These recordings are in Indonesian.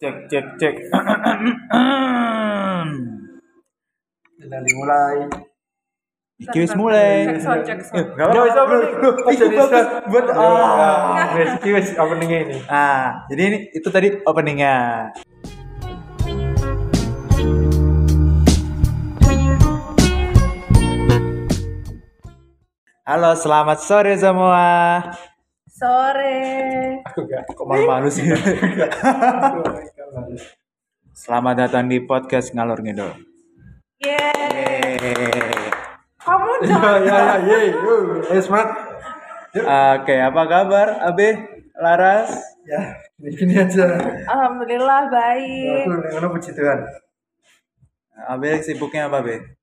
Cek cek cek. dari mulai Iki wis mulai. Cek sound, cek sound. Gak apa-apa, Jauh, opening. Iya, bro. Pas Ih, jadi bagus. start, buat ah. Enggak. Wes, iki wes openingnya ini. Ah, jadi ini itu tadi openingnya. Halo, selamat sore semua. Sore. Aku gak. Kok malu-malu sih? Selamat datang di podcast Ngalor Ngidol. Yeay. Yeay. Kamu Ya ya dong. ya, ye. yo. Wes, Mat. Oke, apa kabar Abe? Laras? Ya, gini aja. Alhamdulillah Aku baik. dengan puji Tuhan. Abe sibuknya apa, Be?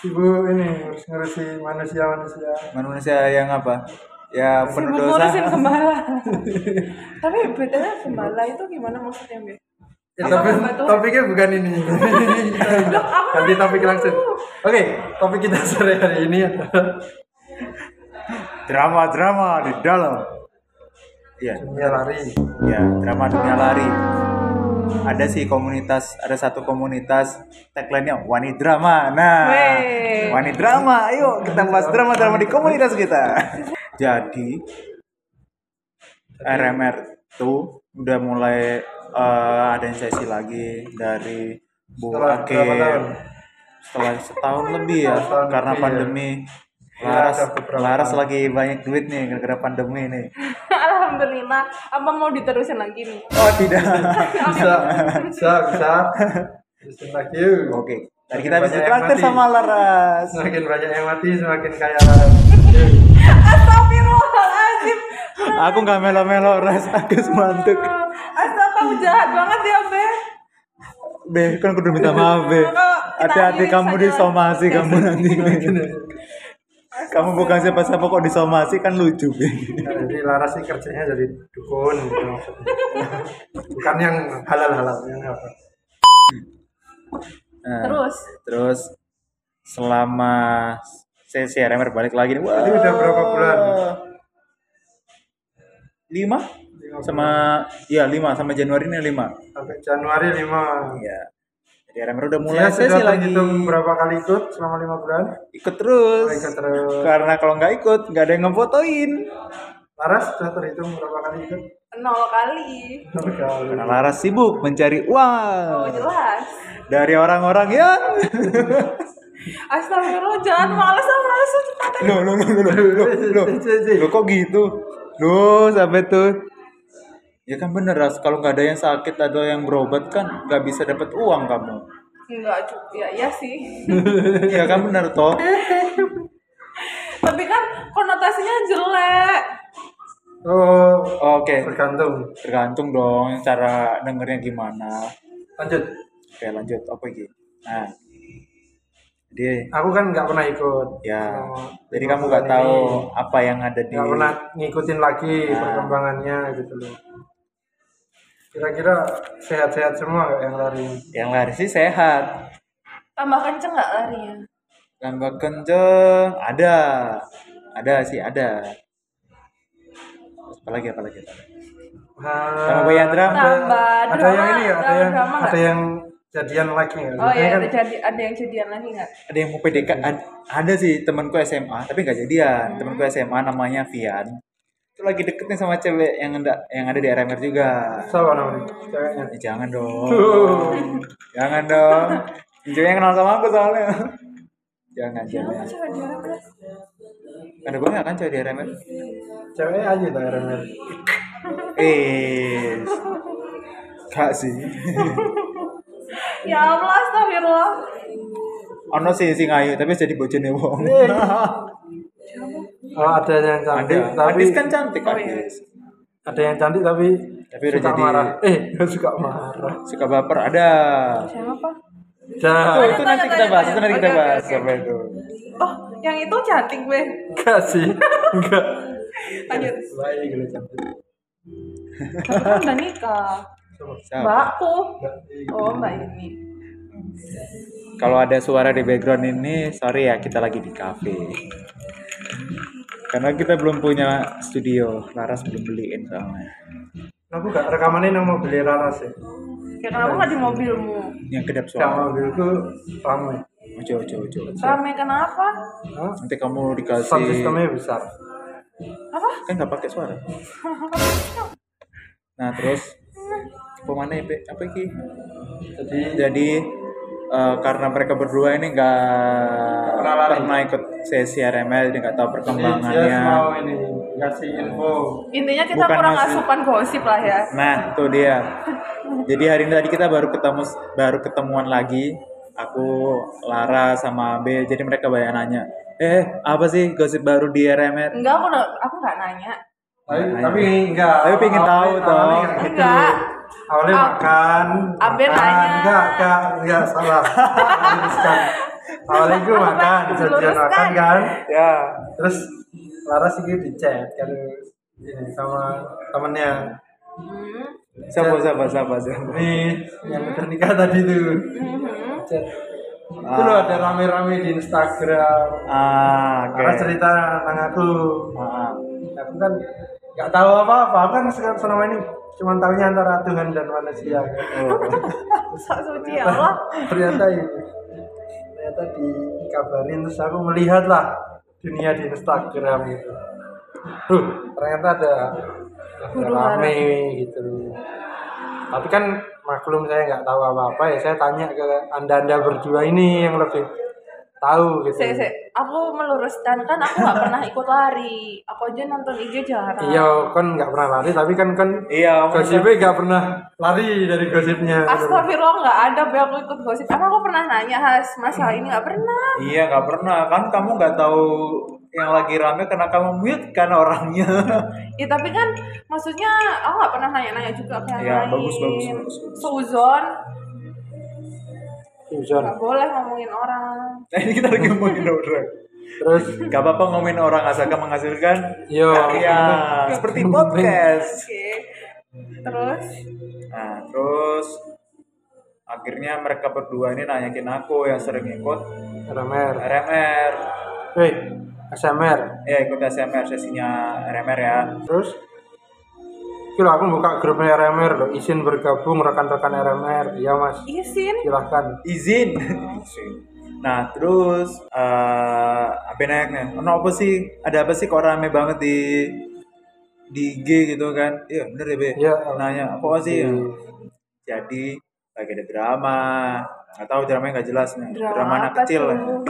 Ibu ini harus ngurusi manusia-manusia. Manusia yang apa? Ya, penuh Sibuk dosa. ngurusin gembala. Tapi BTW gembala itu gimana maksudnya, Mbak? Ya, Apa tapi membantu? topiknya bukan ini. Loh, aku Ganti nanya topik dulu. langsung. Oke, topik kita sore hari ini adalah Drama-drama di dalam. Iya. dunia lari. ya drama dunia lari ada sih komunitas ada satu komunitas tagline-nya wani drama nah Wey. wani drama ayo kita bahas drama drama di komunitas kita jadi RMR tuh udah mulai eh, ada sesi lagi dari Bu Setelah Ake berapa tahun? setelah setahun lebih ya Setahun karena lebih ya. pandemi Iya, Laras ada beberapa Laras tahun. lagi banyak duit nih gara-gara pandemi nih Alhamdulillah. Apa mau diterusin lagi nih? oh tidak Bisa, bisa, bisa. Terusin lagi yuk. Oke, tadi Makin kita bisa banyak yang traktir mati. sama Laras. Semakin banyak yang mati, semakin kaya. Astagfirullahaladzim. Aku nggak melo-melo Ras, aku semantuk. Astaga, kamu jahat banget ya, Be. Be, kan kudu minta maaf, Be. Hati-hati kamu disomasi kamu nanti. Kamu bukan siapa-siapa kok disomasi kan lucu, Be. Nah, jadi Laras sih kerjanya jadi dukun gitu maksudnya. Bukan yang halal-halal yang apa. Nah, Terus, terus selama sesi RMR balik lagi nih. Wah. Jadi udah berapa bulan? Lima? Lima Sama ya lima sama Januari ini lima. Sampai Januari 5. Iya. Jadi RMR udah mulai Mulai sesi sudah lagi. terhitung berapa kali ikut selama lima bulan? Ikut terus. Oh, Ikut terus. Karena kalau nggak ikut, nggak ada yang ngefotoin. Laras sudah terhitung berapa kali ikut? nol kali. Berapa kali? Karena Nah, Laras sibuk mencari Oh, uang jelas. dari orang-orang yang Astagfirullah, jangan males ah, males ah, cepat. lo lo lo lo lo lo lo kok gitu lo sampai tuh ya kan bener ras kalau nggak ada yang sakit atau yang berobat kan nggak bisa dapat uang kamu Enggak cukup ya, ya sih. ya kan bener toh Tapi kan konotasinya jelek. Oh, oke tergantung. tergantung dong cara dengernya gimana Lanjut. oke lanjut apa lagi nah dia Aku kan nggak pernah ikut. ya selama jadi lima kamu nggak bulan tahu ini. apa yang ada Oh, di nggak pernah ngikutin lagi Nah. perkembangannya gitu loh kira-kira sehat-sehat semua nggak yang lari yang lari sih sehat Tambah kenceng nggak ya? larinya? Tambah kenceng ada, ada sih ada. Apalagi apalagi. apalagi. Tambah Nah, banyak drama. Tambah ada drama, yang ini nggak? ada tambah yang drama ada nggak? yang jadian lagi nggak Oh Biasanya iya, kan ada jadi ada yang jadian lagi nggak? Ada yang mau PDK ad- ada sih temanku SMA tapi nggak jadian. Temanku SMA namanya Vian. Itu lagi deket nih sama cewek yang ada yang ada di RMR juga. siapa namanya ceweknya Eh, jangan dong. jangan dong. Ceweknya kenal sama aku soalnya. jangan jangan. Apa cewek dia Mas? Ada gue nggak kan cewek di RMR? cewek aja tuh RMR Eh, gak sih. Ya Allah, astagfirullah. ono sih sing ayu tapi jadi bojone wong. oh ada yang cantik Ada, tapi Adis kan cantik Oh, kan. iya. ada yang cantik tapi Tapi udah suka jadi- marah eh suka marah Suka baper ada. Oh, Siapa? dah Itu, Nah, itu tanya, nanti kita tanya, bahas, tanya. itu nanti kita Oke, oke, bahas oke. sampai itu. Oh, yang itu cantik gue. enggak sih enggak Lanjut. baik gitu cantik Tapi kan udah nikah. Siap. Mbakku. Enggak, iya. Oh, mbak ini. Kalau ada suara di background ini, sorry ya kita lagi di cafe. Karena kita belum punya studio, Laras belum beliin soalnya. aku gak rekamannya nang mau beli Laras ya Ya kenapa nggak di mobilmu? yang kedap yang suara mobilku ramai ojo ojo ojo ojo. Rame kenapa? Hah? nanti sound kamu dikasih sistemnya besar Apa? kan nggak pakai suara nah terus pemana Ipe? apa iki jadi jadi eh, karena mereka berdua ini nggak Pernah lari. pernah ikut sesi RML dia nggak tahu jadi dia perkembangannya mau ini ngasih info Intinya kita Bukan kurang masih- asupan gosip lah ya. Nah, itu dia. Jadi hari ini tadi kita baru ketemu baru ketemuan lagi. Aku Lara sama B. Jadi mereka banyak nanya. Eh, apa sih gosip baru di RMR? Enggak, aku udah- aku nggak nanya. tapi, Nah, tapi enggak Tapi pengen Awalnya- tahu, toh. awalnya nggak gitu. Enggak. awalnya Ah. makan Abe makan. nanya. enggak enggak enggak salah Luruskan. awalnya gue Aku makan pengen janjian makan luruskan. kan Ya. terus Lara sih gitu di chat kan ini sama temennya Hmm. Sabar, sabar, sabar, sabar. ini yang udah nikah tadi tuh Mhm. chat itu loh ada rame-rame di Instagram Ah, oke. Lara cerita tentang aku Ah, aku kan nggak tahu apa-apa aku kan sekarang selama ini cuma tahunya antara Tuhan dan manusia oh. Sok suci ya Allah. ternyata ini ternyata dikabarin terus aku melihat lah dunia di Instagram gitu Duh, ternyata ada ada Huru hara. rame gitu tapi kan maklum saya nggak tahu apa-apa ya saya tanya ke anda-anda berdua ini yang lebih tahu gitu Se, se, aku meluruskan kan aku nggak pernah ikut lari. Aku aja nonton IG jarang. iya kan nggak pernah lari tapi kan kan Iya, om. gosipnya nggak pernah lari dari gosipnya Astagfirullah nggak ada be aku ikut gosip. Emang aku pernah nanya Has masalah ini nggak pernah. Iya, nggak pernah kan kamu nggak tahu yang lagi rame karena kamu mute kan orangnya. Ya tapi kan maksudnya aku nggak pernah nanya-nanya juga ke yang Iya, lain. bagus, bagus, bagus, bagus. Suzon Sujon. nggak boleh ngomongin orang. Nah, ini kita lagi ngomongin orang. terus Gak apa-apa ngomongin orang asalkan menghasilkan yo karya seperti podcast. Oke. Terus Nah, terus akhirnya mereka berdua ini nanyakin aku yang sering ikut RMR RMR. Wih, SMR. Ya, ikut SMR sesinya RMR ya. Terus Kira aku buka grup RMR loh, izin bergabung rekan-rekan RMR. Iya, Mas. izin Silahkan. Izin. Izin. Oh, nah, terus eh apa nanya? Ono apa sih? Ada apa sih kok rame banget di di IG gitu kan? Iya, bener ya, Be. Iya. Nanya, apa sih? Jadi lagi ada drama. Gak tahu dramanya gak jelas nih. Drama, anak apa kecil. ya? tuh?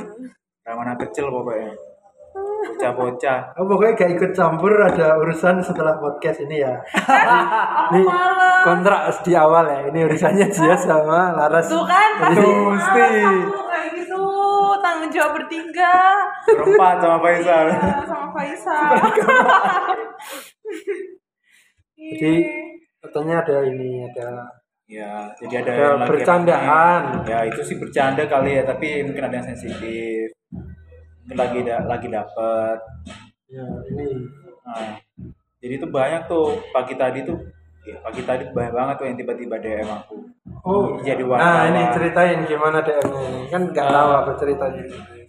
Drama anak kecil pokoknya. Bocah-bocah. Oh, pokoknya gak ikut campur ada urusan setelah podcast ini ya. Aku malah Kontrak di awal ya. Ini urusannya dia sama Laras. tuh kan pasti Tuh, males mesti. aku kayak gitu tanggung jawab bertiga berempat sama Faisal Iya, sama Faisal. Jadi katanya ada ini ada ya jadi ada ada yang lagi bercandaan. ya itu sih bercanda kali ya tapi mungkin ada yang sensitif Mungkin lagi da- lagi dapet Ya, ini Nah, jadi itu banyak tuh pagi tadi tuh ya pagi tadi banyak banget tuh yang tiba-tiba DM aku Oh, jadi nah wartawan ini ceritain gimana DM-nya ini. Kan gak tahu apa ceritanya.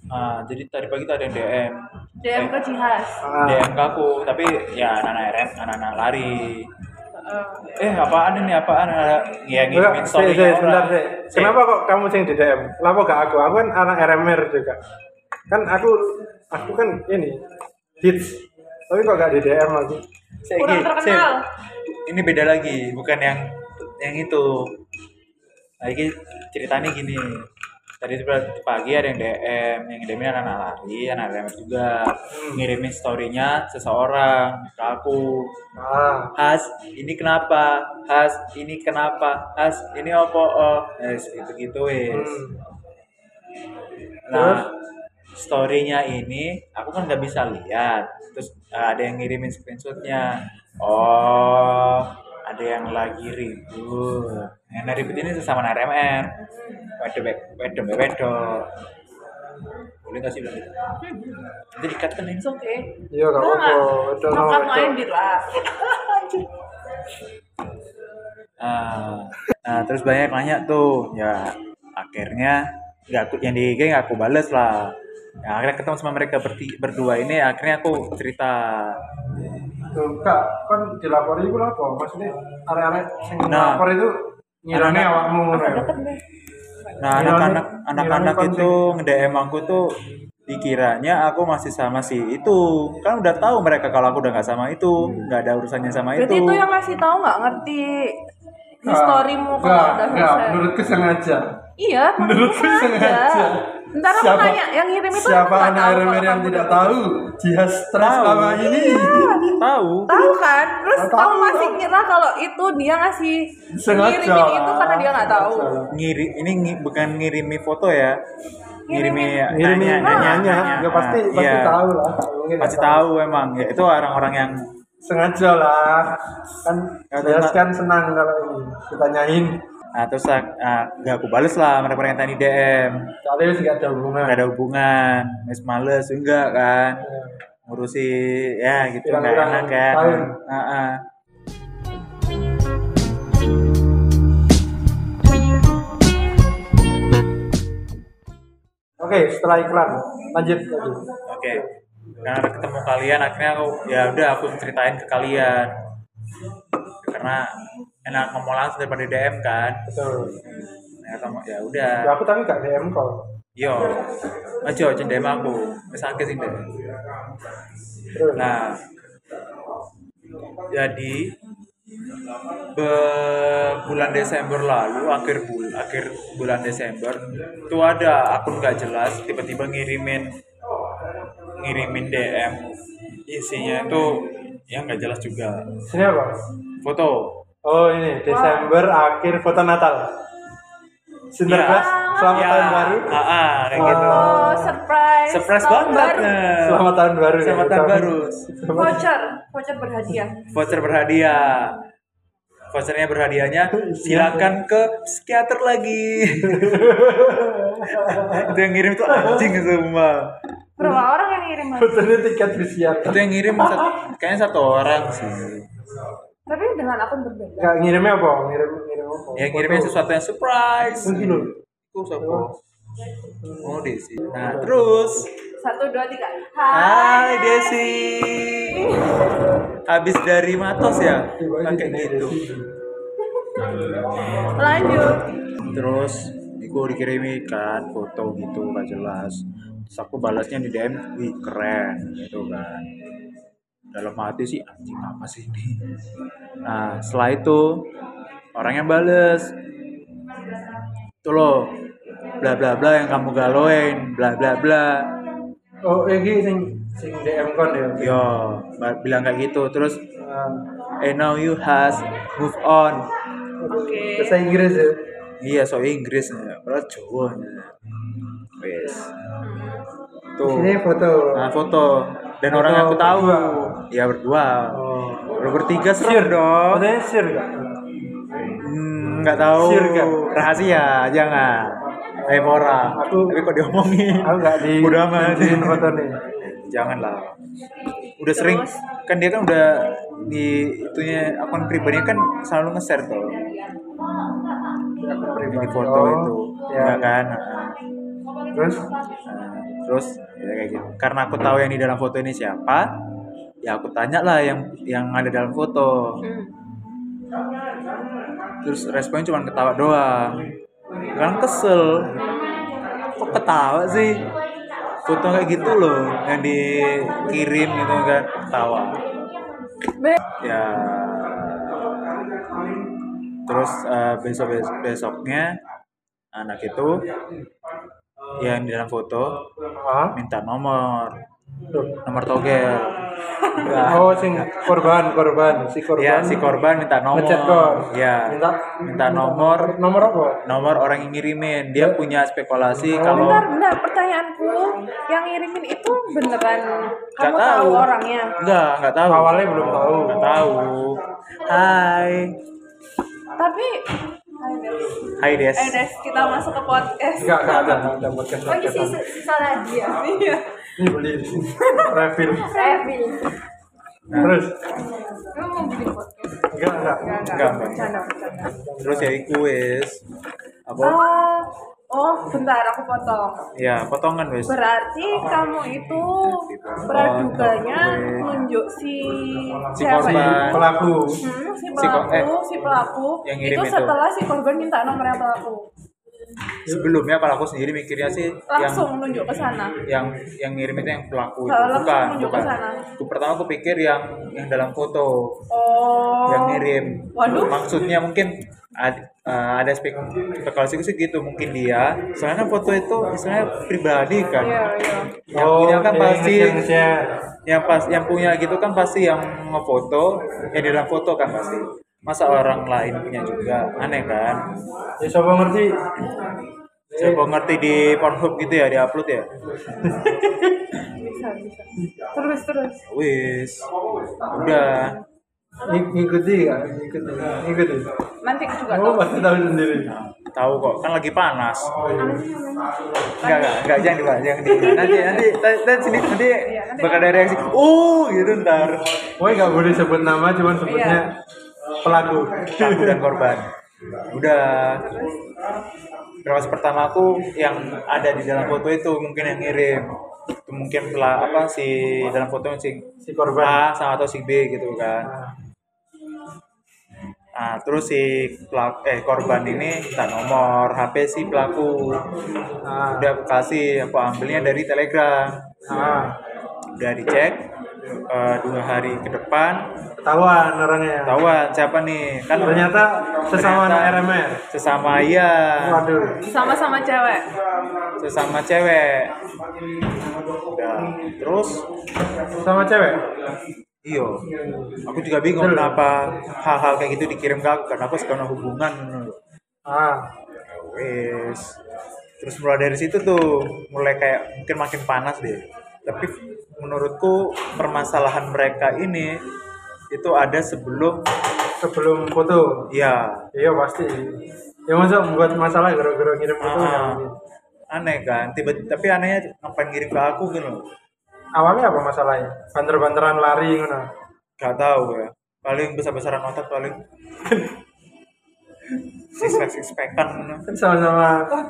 Nah, jadi tadi pagi tuh ada yang DM DM ke Cihas. Ah, DM ke aku tapi ya anak-anak RM anak-anak lari Heeh. eh apaan ini apaan Anak-anak- ya ngirimin Enggak, story sih, sih, sebentar orang. sih. Kenapa kok kamu sih yang di DM? Kenapa gak aku? Aku kan anak RMR juga. Kan aku aku kan ini hits. Tapi kok gak di DM aku? Iya, Sih, Kurang Gi, terkenal. sih. Ini beda lagi, bukan yang yang itu. Lagi ceritanya gini. Tadi sebelah- pagi ada yang DM, yang DM -nya anak-anak lari, anak DM juga ngirimin story-nya seseorang ke aku. Ah, Has, ini kenapa? Has, ini kenapa? Has, ini opo? Oh, yes, gitu gitu wes. hmm. Nah, story-nya ini aku kan nggak bisa lihat. Terus uh, ada yang ngirimin screenshotnya. Oh, ada yang lagi ribut. Yang nah, ribut ini sesama RMR. Wedo, wedo, wedo. Boleh nggak sih bilang gitu? Nanti dikatakan ini It's okay. Iya, gak Udah apa-apa. nggak? Udah, Makan udah. main dit lah. Nah, Ah, nah terus banyak nanya tuh ya akhirnya nggak aku yang di IG nggak aku bales lah Nah, akhirnya ketemu sama mereka berti- berdua ini akhirnya aku cerita Tuh, Kak, kan dilapori itu apa? Maksudnya area-area yang Nah. lapor itu ngirane Anak-anak- awakmu ngono ya. Dapat deh. Nah, Ngirane- anak-anak ngirane anak-anak konflik. itu nge-DM aku tuh dikiranya aku masih sama si itu. Kan udah tahu mereka kalau aku udah nggak sama itu, nggak ada urusannya sama Berarti itu yang ngasih tahu nggak ngerti Ah, historimu Enggak, kalau udah enggak, selesai. menurutku sengaja. Iya, menurut Menurutku sengaja. Ntar aku Siapa- nanya yang ngirim itu Siapa nggak anak tahu RMR kalau yang kamu tidak udah- tahu jihad stres Tahu. selama ini? Iya, Tahu. Tahu kan? Terus Nggak kamu tahu. masih ngira kalau itu dia ngasih Sengaja. ngirimin itu karena dia nggak tahu. Sengaja. Ngiri ini ngi- bukan ngirimi foto ya. Ngirimi Ngirimin nanya, nanya, nanya, nanya. enggak pasti Ah, pasti iya. tahu lah. Mungkin Pasti nggak tahu emang. Ya, itu orang-orang yang Sengaja lah. Kan Nggak Jihad tahu. kan senang kalau ini ditanyain. nah, terus ah, nggak aku bales lah mereka-mereka yang tadi DM. Kalian juga ada hubungan. Nggak ada hubungan, wis males enggak kan. Ya. ngurusi ya gitu Hilang nggak hilang enak kan tahun. Heeh. Oke, setelah iklan lanjut lanjut. oke karena ketemu kalian akhirnya aku ya udah aku ceritain ke kalian karena enak ngomong langsung daripada DM kan Betul. nah, ketemu ya udah Ya, aku tapi gak DM kok. yo aja aja DM aku misalnya sih deh Terus. nah jadi be- bulan Desember lalu akhir bulan akhir bulan Desember itu ada akun nggak jelas tiba-tiba ngirimin ngirimin DM isinya itu yang nggak jelas juga Ini apa? foto Oh ini Desember akhir foto Natal. Sinterklas, Ya. kan? selamat Ya, tahun baru. ah, ah, kayak gitu Oh, surprise. surprise Tahun banget baru. nah. Selamat tahun baru. ya, selamat tahun ucapan. baru Voucher, voucher berhadiah. voucher berhadiah vouchernya berhadiahnya silakan ke psikiater lagi itu yang ngirim tuh anjing semua Berapa orang yang ngirim? Mas? Fotonya tiket psikiater. itu yang ngirim satu- kayaknya satu orang sih Tapi dengan akun berbeda. Gak ngirimnya apa? Ngirim ngirim apa? yang ngirimnya sesuatu yang surprise Mungkin loh. itu siapa oh Desi nah terus Satu, dua, tiga. Hai Desi habis dari Matos ya Iya, kayak gitu Lanjut. terus aku dikirimi kan foto gitu gak jelas terus aku balasnya di DM wih keren gitu kan dalam hati sih anjing apa sih ini nah setelah itu orangnya bales tuh loh bla bla bla yang kamu galauin bla bla bla Oh ini sing sing DM kon ya. yo ba- bilang kayak gitu terus Ah, and now you has move on Oke. Bahasa Inggris ya. iya so Inggris padahal Jawa ya. wes tuh Ini foto. Nah, foto dan Foto orang yang aku tahu. berdua. Ya berdua. Oh. Orang bertiga serem dong. Fotonya sir gak? Hmm, nggak tahu. Sir, kan? Rahasia, jangan. Eh orang. Aku- Tapi kok diomongin? Aku gak di. Udah amat. diin foto nih. Janganlah. Udah sering kan dia kan udah di itunya akun pribadinya kan selalu nge-share tuh Aku di pribadi. foto Oh, itu. Ya. Ya kan? Nah, Terus Nah, terus ya kayak gitu. Karena aku tahu yang di dalam foto ini siapa, ya aku tanya lah yang yang ada dalam foto. Hmm. Terus responnya cuma ketawa doang. Kan kesel. Kok ketawa sih? Foto kayak gitu loh yang dikirim gitu kan ketawa. Be- Ya terus eh, besok besoknya anak itu yang di dalam foto ah minta nomor Tuh. nomor togel Enggak. Oh sing korban korban si korban. ya si korban minta nomor Ngechat kok. ya Minta minta nomor nomor apa? nomor orang yang ngirimin Iya. dia punya spekulasi Oh, kalau Bentar, bentar. Pertanyaanku, yang ngirimin itu beneran Nggak kamu tahu tahu. orangnya? enggak enggak tahu Awalnya belum tahu. enggak tahu hai Tapi, Hai, Des. hai Des eh Des, kita masuk ke podcast. Enggak enggak ada enggak ada podcast. Lagi podcastan. sisa, sisa lagi ya. Iya. Ini beli refill. Nah. Saya beli. Terus Kamu mau bikin podcast? enggak enggak. Nggak, Enggak, enggak. Mbak. Bercanda, bercanda. terus ya iku wes aku Ah, Oh, Oh, bentar aku potong. ya potongan wes Berarti kamu itu praduganya gue. nunjuk si Si siapa korban. ya? pelaku Hmm, si Si ko- pelaku, si, eh, pelaku yang ngirim itu itu. setelah si korban minta nomornya pelaku, sebelumnya kalau aku sendiri mikirnya sih langsung nunjuk ke sana. yang yang yang ngirim itu yang pelaku itu Kalau langsung bukan nunjuk ke bukan sana. Aku pertama aku pikir yang yang dalam foto Oh. yang ngirim. Waduh. Maksudnya mungkin ad- eh, ada spek spekulasi sih gitu mungkin dia. Soalnya kan foto itu istilahnya pribadi kan. Iya, iya. Yang Oh, punya kan oke, pasti nge-share-nge-share. yang pas yang punya gitu kan pasti yang ngefoto, yang di dalam foto kan pasti. Masa orang lain punya juga aneh kan? ya siapa ngerti Saya mau ngerti di Pornhub gitu ya, di upload ya. Bisa, bisa. Terus, terus. Wis, udah. Ng- ngikuti kan ngikuti Iya. ngikuti Nanti Oh, juga kamu tahu. pasti tahu sendiri Tahu kok, kan lagi panas. Apa sih namanya? Enggak, enggak, enggak, jangan dibahas, jangan dibahas. Nanti, nanti, nanti, nanti sini, nanti Iya, nanti. bakal ada reaksi, uh, gitu ntar. Woi nggak boleh sebut nama, cuman sebutnya pelaku. Iya. Pelaku dan korban. Udah, reaksi pertama aku yang ada di dalam foto itu mungkin yang ngirim. Itu mungkin telah apa si dalam foto si Si korban. A sama atau si B gitu kan. Nah, terus si pelaku, eh korban ini minta nomor HP si pelaku. Ah, Udah aku kasih, aku ambilnya dari Telegram. ah, udah dicek eh, dua hari ke depan ketahuan orangnya. ya. ketahuan siapa nih kan Ternyata sesama anak RMR. sesama iya Waduh. Sama-sama cewek. sesama cewek udah terus Sama cewek. iyo aku juga bingung kenapa hal-hal kayak gitu dikirim ke aku karena aku suka hubungan Ah, wes terus mulai dari situ tuh mulai kayak mungkin makin panas deh tapi menurutku permasalahan mereka ini itu ada sebelum sebelum foto. ya Iya pasti. Ya masa buat masalah gara-gara ngirim foto. ya, Ah, aneh kan tiba tapi anehnya ngapain ngirim ke aku gitu loh Awalnya apa masalahnya? Banter-banteran lari ngono. gak tahu ya paling besar besaran otak paling six pack six packan Kan sama-sama kan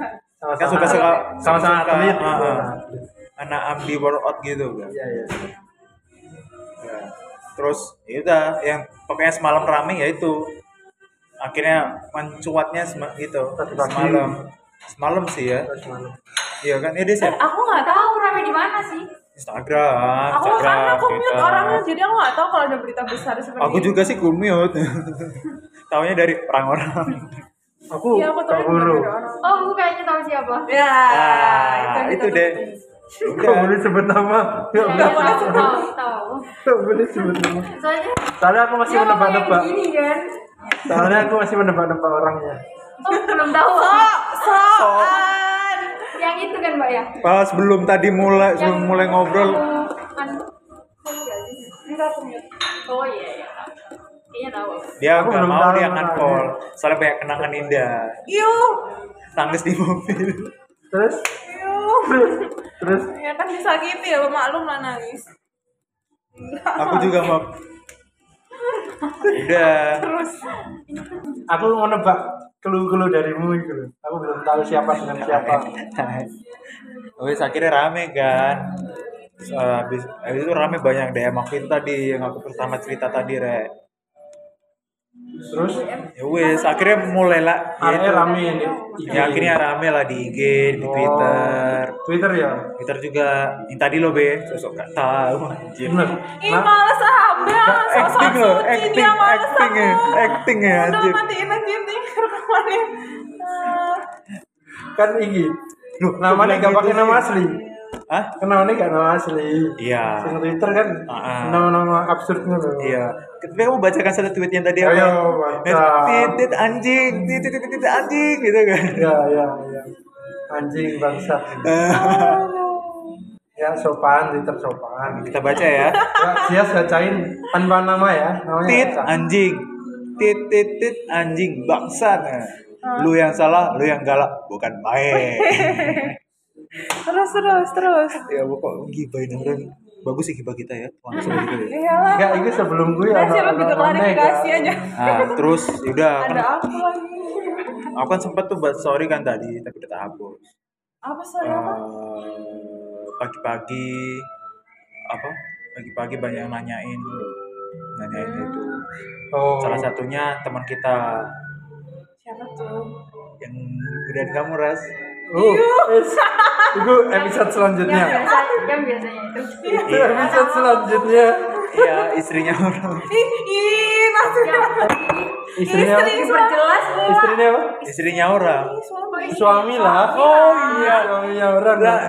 sama-sama suka suka sama-sama atlet. ah, ah. anak ambi workout gitu kan Iya, iya. Ya. terus ya udah yang pokoknya semalam rame ya itu akhirnya mencuatnya sema- itu Tadi pagi. semalam semalam sih ya Terus malam. iya kan ya dia share Aku nggak tahu rame di mana sih. Instagram Aku karena aku mute Twitter. orangnya, jadi aku nggak tahu kalau ada berita besar seperti Aku juga sih kumut. Taunya dari orang-orang. Aku Iya, aku tahu keburu. Oh, aku kayaknya tahu siapa. Ya, Ah, yang itu kita deh. tutupin. Kok boleh sebut nama? Nggak Kayaknya Udah, boleh Iya, tahu, sebut. tahu, tahu. Nggak boleh sebut nama. Iya, Soalnya Soalnya aku masih dia ngomong yang menebak-nebak. begini kan. Soalnya aku masih menebak-nebak orangnya. Oh, belum tahu. Oh, Soan. yang itu kan, Mbak ya. Pas sebelum tadi mulai Ya. sebelum mulai ngobrol, Kan kamu nggak sih? Enggak aku mute. Oh iya, iya. tahu. Kayaknya tahu. aku. dia Aku nggak belum mau tahu dia orangnya. nge-call. Soalnya banyak kenangan indah. Iuh. Tangis di mobil. Terus, Iuh. terus Ya kan disakiti ya, maklum lah nangis. Aku juga mau. Udah. Terus aku menebak clue-clue darimu itu loh. Aku belum tahu siapa dengan siapa. Wes akhirnya rame kan. Terus, eh, Habis, habis itu rame banyak DM aku itu tadi yang aku pertama cerita tadi rek. Terus, Iya, Ya wes akhirnya mulailah ya akhirnya itu. rame yang di IG. Ya akhirnya rame lah di IG, di Oh, Twitter. Twitter ya? Twitter juga yang tadi lo be sosok gak tahu anjir Bener. Ih Nah, males ah, Mbak. Sosok acting lo suci acting dia males acting ya aku. acting ya Udah anjir matiin aja nih rekamannya. Ah. kan IG. Loh, Namanya gak kok bilang pakai gitu nama sih? asli. Hah? Kenapa gak nama asli? iya Sing Twitter kan Ah. nama-nama absurdnya loh. iya tapi kamu bacakan satu tweet yang tadi apa Ayo, baca. titit anjing titit titit titit, anjing gitu kan Ya, ya, ya. Anjing bangsa. Ya sopan, Twitter sopan. kita baca ya Ya, dia bacain tanpa nama ya. Namanya tit Elsa. anjing tit tit tit anjing bangsat lu yang salah lu yang galak bukan main Terus terus terus. ya pokok gibain orang bagus sih hibah kita ya langsung gitu ya. iyalah Enggak, itu sebelum gue Nah, ada siapa bikin klarifikasi aja Nah, terus yaudah kan, ada apa lagi aku kan sempat tuh buat story kan tadi tapi udah hapus. apa sorry apa Oh. Eh, pagi-pagi apa? Pagi-pagi banyak yang nanyain nanyain itu. Oh. Salah satunya teman kita siapa tuh yang udah kamu ras. Oh, yes. itu episode yang Iya, selanjutnya. biasa yang biasanya itu Itu episode selanjutnya. Iya, istrinya orang. ih ih nanti yang Istrinya apa? Iya. Istri. diperjelas mula Istrinya apa? Istrinya orang. suami Suami lah. Oh iya, suaminya orang. Nah.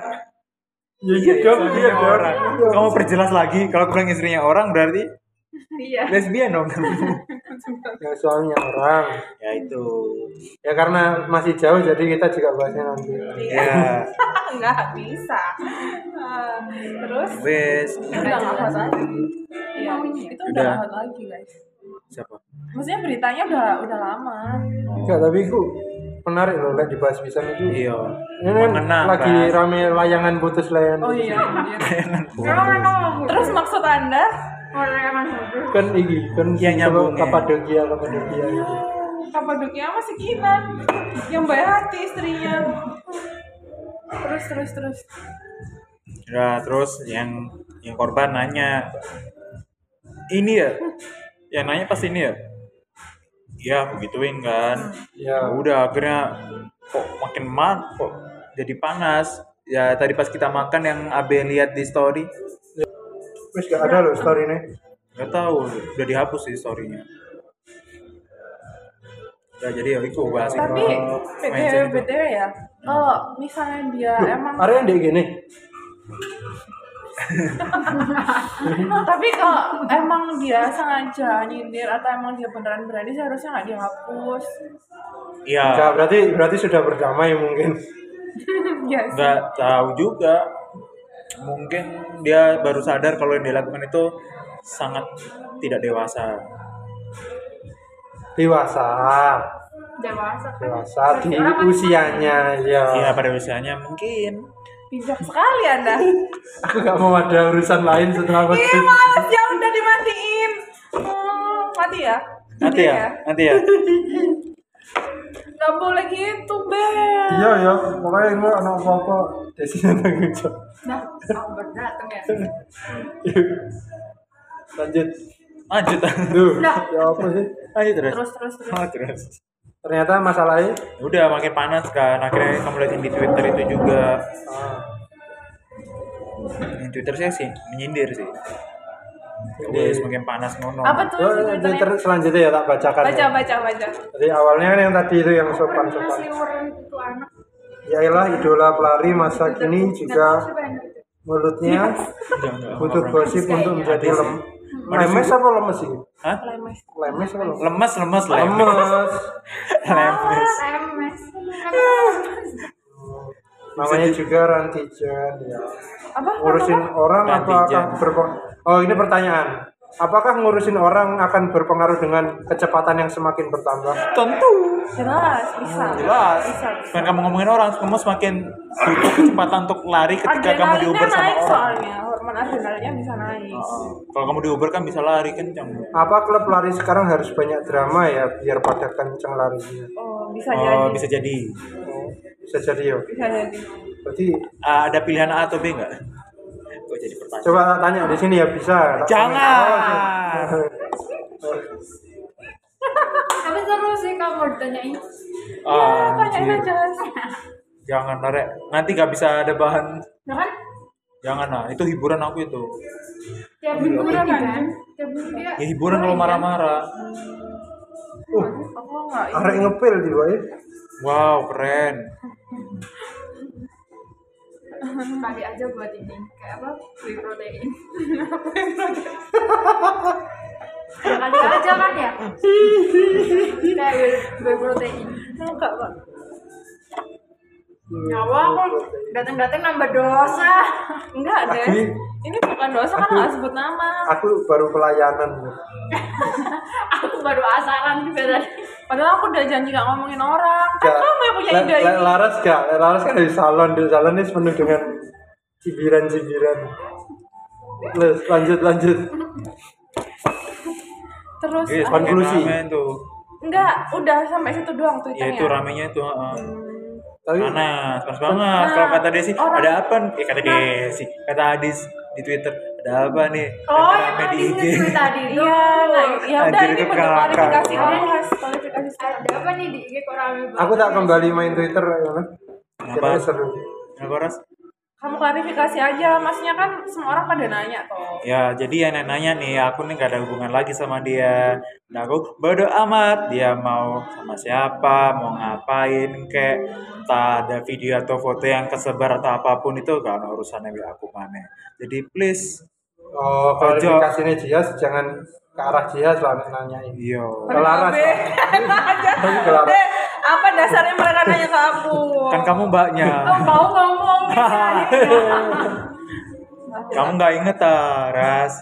Ya iya dong, iya Istrinya dong. orang. Kamu perjelas lagi kalau aku bilang istrinya orang berarti iya lesbian dong. Ya, suaminya orang. ya itu. Ya karena masih jauh jadi kita juga bahasnya nanti. Ya, nggak bisa Ah, terus wes udah nggak hot lagi Iya, itu udah Udah. nggak hot lagi guys siapa? maksudnya beritanya udah udah lama Enggak, tapi itu menarik loh lihat dibahas bisa itu. Iya. Ini kan Mengenang, lagi Ras. rame layangan putus layangan. oh iya iya. Orang-orang terus maksud anda orang-orang bodoh. Kan ini kan Iya, nyambung, ya. Kapadokia Kapadokia itu. Kapadokia masih Kinan yang baik hati istrinya terus terus terus Ya, terus yang yang korban nanya ini ya yang nanya pas ini ya iya aku gituin kan Ya. Ya udah akhirnya kok makin man kok jadi panas ya tadi pas kita makan yang Abe lihat di story Terus gak ada loh story ini. nggak tahu udah dihapus sih storynya ya jadi ya itu bahas itu. tapi btw Mindset itu. btw ya kalau misalnya dia emang Ada yang kayak gini. tapi kalau emang dia sengaja nyindir atau emang dia beneran berani seharusnya nggak dihapus iya Enggak, Ya, berarti berarti sudah berdamai mungkin. ya sih. nggak tahu juga mungkin dia baru sadar kalau yang dilakukan itu sangat tidak dewasa Dewasa, dewasa kan dewasa di usianya ya. iya pada usianya mungkin bijak sekali anda Aku gak mau ada urusan lain setelah ih podcast. males ya udah dimatiin hmm, mati ya nanti ya nanti ya nggak boleh gitu beb Iya ya, pokoknya ini anak apa-apa Desi tanggung jawab. nah aku berdatang ya Yuk. Lanjut. lanjut Duh, ya apa sih? lanjut terus terus terus terus Oh, terus Ternyata masalahnya udah makin panas kan akhirnya kamu lihat yang di twitter itu juga ah, yang twitter saya sih menyindir sih jadi semakin panas ngono apa tuh oh, Twitter-nya? ini kan. ter- selanjutnya ya tak bacakan. baca ya. baca baca Jadi awalnya kan yang tadi itu yang pernah sopan-sopan. seliwuran itu anak Yailah idola pelari masa kini juga siapa yang itu mulutnya Enggak, enggak, butuh enggak, gosip untuk menjadi lem lemes apa lemes sih? enggak. Hah? lemes Lemes apa lemes? lemes lemes lemes Lemes. lemes MS Namanya juga Rantijan ya. apa Ngurusin orang apa Rantijan. akan berpengaruh? Oh ini pertanyaan. Apakah ngurusin orang akan berpengaruh dengan kecepatan yang semakin bertambah? tentu jelas bisa Hmm, jelas bisa kan kamu ngomongin orang kamu semakin butuh kecepatan untuk lari ketika kamu diuber sama orang Oh. adrenalinnya naik soalnya hormon adrenalinnya bisa naik Heeh. kalau kamu diuber kan bisa lari kencang Apa klub lari sekarang harus banyak drama ya biar pada kenceng larinya? oh bisa oh, jadi bisa jadi Oh, Bisa jadi ya. bisa jadi Berarti Ah, ada pilihan A atau B enggak kok jadi pertanyaan coba tak tanya di sini ya bisa. Tak Oh, iya. Jangan. komen. Oh, iya. tapi seru sih kamu ditanyain Ah, Eh, tanyain anjir. aja jangan narek nanti gak bisa ada bahan nah kan jangan lah itu hiburan aku itu tiap minggu ini kan tiap minggu dia ya hiburan kalau marah-marah Uh, aku nggak Ah. arek ngepil tiba ya. wow keren kali aja buat ini kayak apa beli protein kali aja kan ya kayak beli, beli protein nggak pak nyawa aku dateng dateng nambah dosa nggak deh Aku- ini bukan dosa kan nggak sebut nama Aku baru pelayanan. aku baru asaran juga tadi padahal aku udah janji nggak ngomongin orang Ya. kan kamu yang punya Le- ide Le- ini Laras gak? Le- Laras kan di salon, di salon ini penuh dengan cibiran-cibiran. Terus, lanjut lanjut terus Iya, ah, semakin Konklusi. rame tuh. enggak udah sampai situ doang Ya tweetannya itu ramenya itu. heeh. Oh, tapi iya. Panas, panas banget. Kalau kata Desi, orang- ada apa? nih? Eh Nah. kata Desi, kata Adis di Twitter, ada apa nih? Oh, Ada yang rame tadi nge-tweet tadi itu. iya nah, ya udah Anjir, ini itu bentuk kakak. klarifikasi kamu harus klarifikasi sekarang Ada apa nih di IG kok rame banget? aku tak kembali main Twitter ya. Kayaknya seru. Oh, Kenapa, Ras? kamu klarifikasi aja maksudnya kan semua orang pada nanya toh Ya, jadi yang nanya nih, aku nih gak ada hubungan lagi sama dia. Nah, aku bodo amat. Dia mau sama siapa, mau ngapain, kayak tak ada video atau foto yang kesebar atau apapun itu gak ada urusannya dengan aku mana. Jadi please, Oh, klarifikasinya Jias jangan ke arah Jias lah nek nanyain. yo. Ke Laras. Be, Ke Laras. Eh, apa dasarnya mereka nanya ke aku Kan kamu mbaknya. Oh, mau ngomong Kamu gak inget, ah, Ras.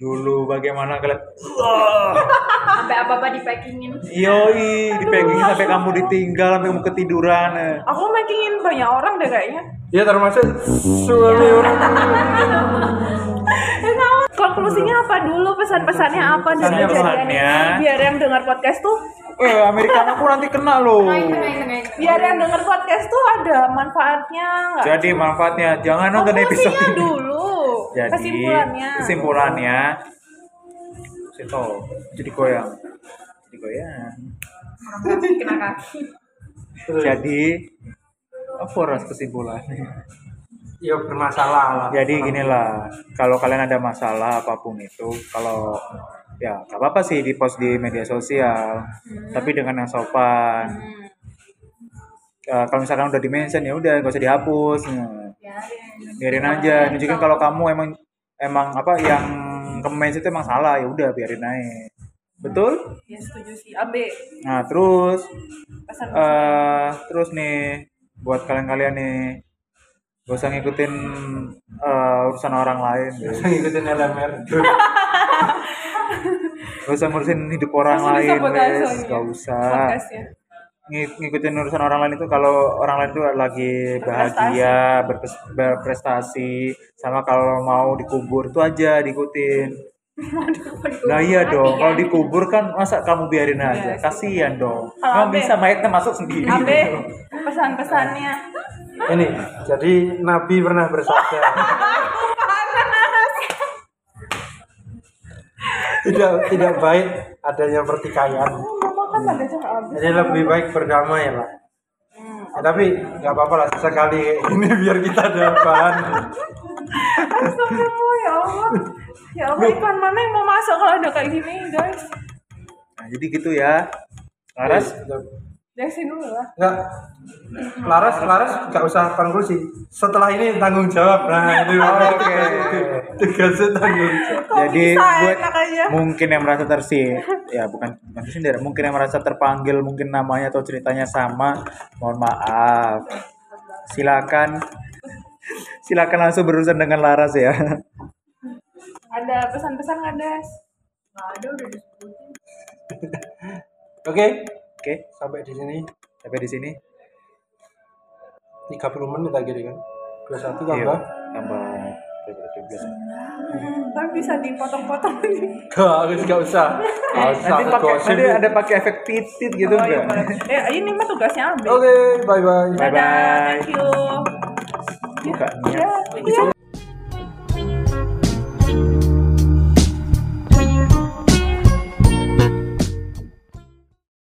Dulu bagaimana kalian... Sampai apa-apa dipackingin. Yoi, dipegangin sampai kamu ditinggal, sampai kamu ketiduran. eh. aku makingin banyak orang deh kayaknya Ya termasuk suami orang. Eh, kamu konklusinya apa dulu pesan-pesannya apa dari Pesannya, kejadian ini? pesannya. biar yang dengar podcast tuh Eh, Amerika aku nanti kena loh. Nah, itu, nah, itu, nah, itu. biar yang dengar podcast tuh ada manfaatnya nggak Jadi manfaatnya jangan nonton episode Konklusinya ini. dulu Jadi kesimpulannya kesimpulannya Sito, jadi goyang. Jadi goyang. Kena kaki. Jadi apa ras kesimpulannya? Ya bermasalah lah. Jadi gini lah, kalau kalian ada masalah apapun itu, kalau ya gak apa-apa sih di post di media sosial, Hmm. tapi dengan yang sopan. Hmm. Eh, kalau misalkan udah di mention ya udah gak usah dihapus. Nah. Ya, ya. biarin aja nunjukin kalau kamu emang emang apa yang kemens itu emang salah ya udah biarin aja betul ya setuju sih abe nah terus pesan eh terus nih buat kalian-kalian nih gak usah ngikutin eh, urusan orang lain Iya, guys. Saya ngikutin LMR. gak usah ngurusin hidup orang Langsung lain disabotase guys soalnya. gak usah podcastnya Ngi- ngikutin urusan orang lain itu kalau orang lain itu lagi bahagia berpes- berprestasi sama kalau mau dikubur itu aja diikutin Nah iya dong, kalau dikubur kan masa kamu biarin aja, kasihan dong. Nggak Kalau Abe- bisa mayatnya masuk sendiri. abe pesan-pesannya Ini, jadi Nabi pernah bersabda. tidak tidak baik adanya pertikaian. makan pada cara abe Jadi lebih baik berdamai lah. Ya, tapi nggak apa-apa lah sekali kayak gini biar kita ada bahan. Astagfirullah ya Allah ya Allah iklan mana yang mau masuk kalau udah kayak gini guys Nah, jadi gitu ya. Laras, Desin dulu lah Enggak. Laras, Laras nggak usah konklusi. Setelah ini tanggung jawab. Nah, itu oke. Tugasnya tanggung jawab. Kok jadi bisa buat enak aja? mungkin yang merasa tersi ya bukan bukan tersindir, mungkin yang merasa terpanggil mungkin namanya atau ceritanya sama, mohon maaf. Silakan silakan langsung berurusan dengan Laras ya. ada pesan-pesan nggak Des Nggak ada udah disebutin. Oke, Oke, sampai di sini sampai di sini. 30 menit lagi kan. 21 Iya, tambah. tambah 12. hmm, tapi bisa dipotong-potong lagi Enggak, harus enggak usah. Nggak usah, Nanti pakai gosip. nanti ada pakai efek titit gitu Oh, iya, enggak? boleh. ya ini mah tugasnya abe Oke, bye-bye. Bye-bye. thank you Bukannya. ya, iya.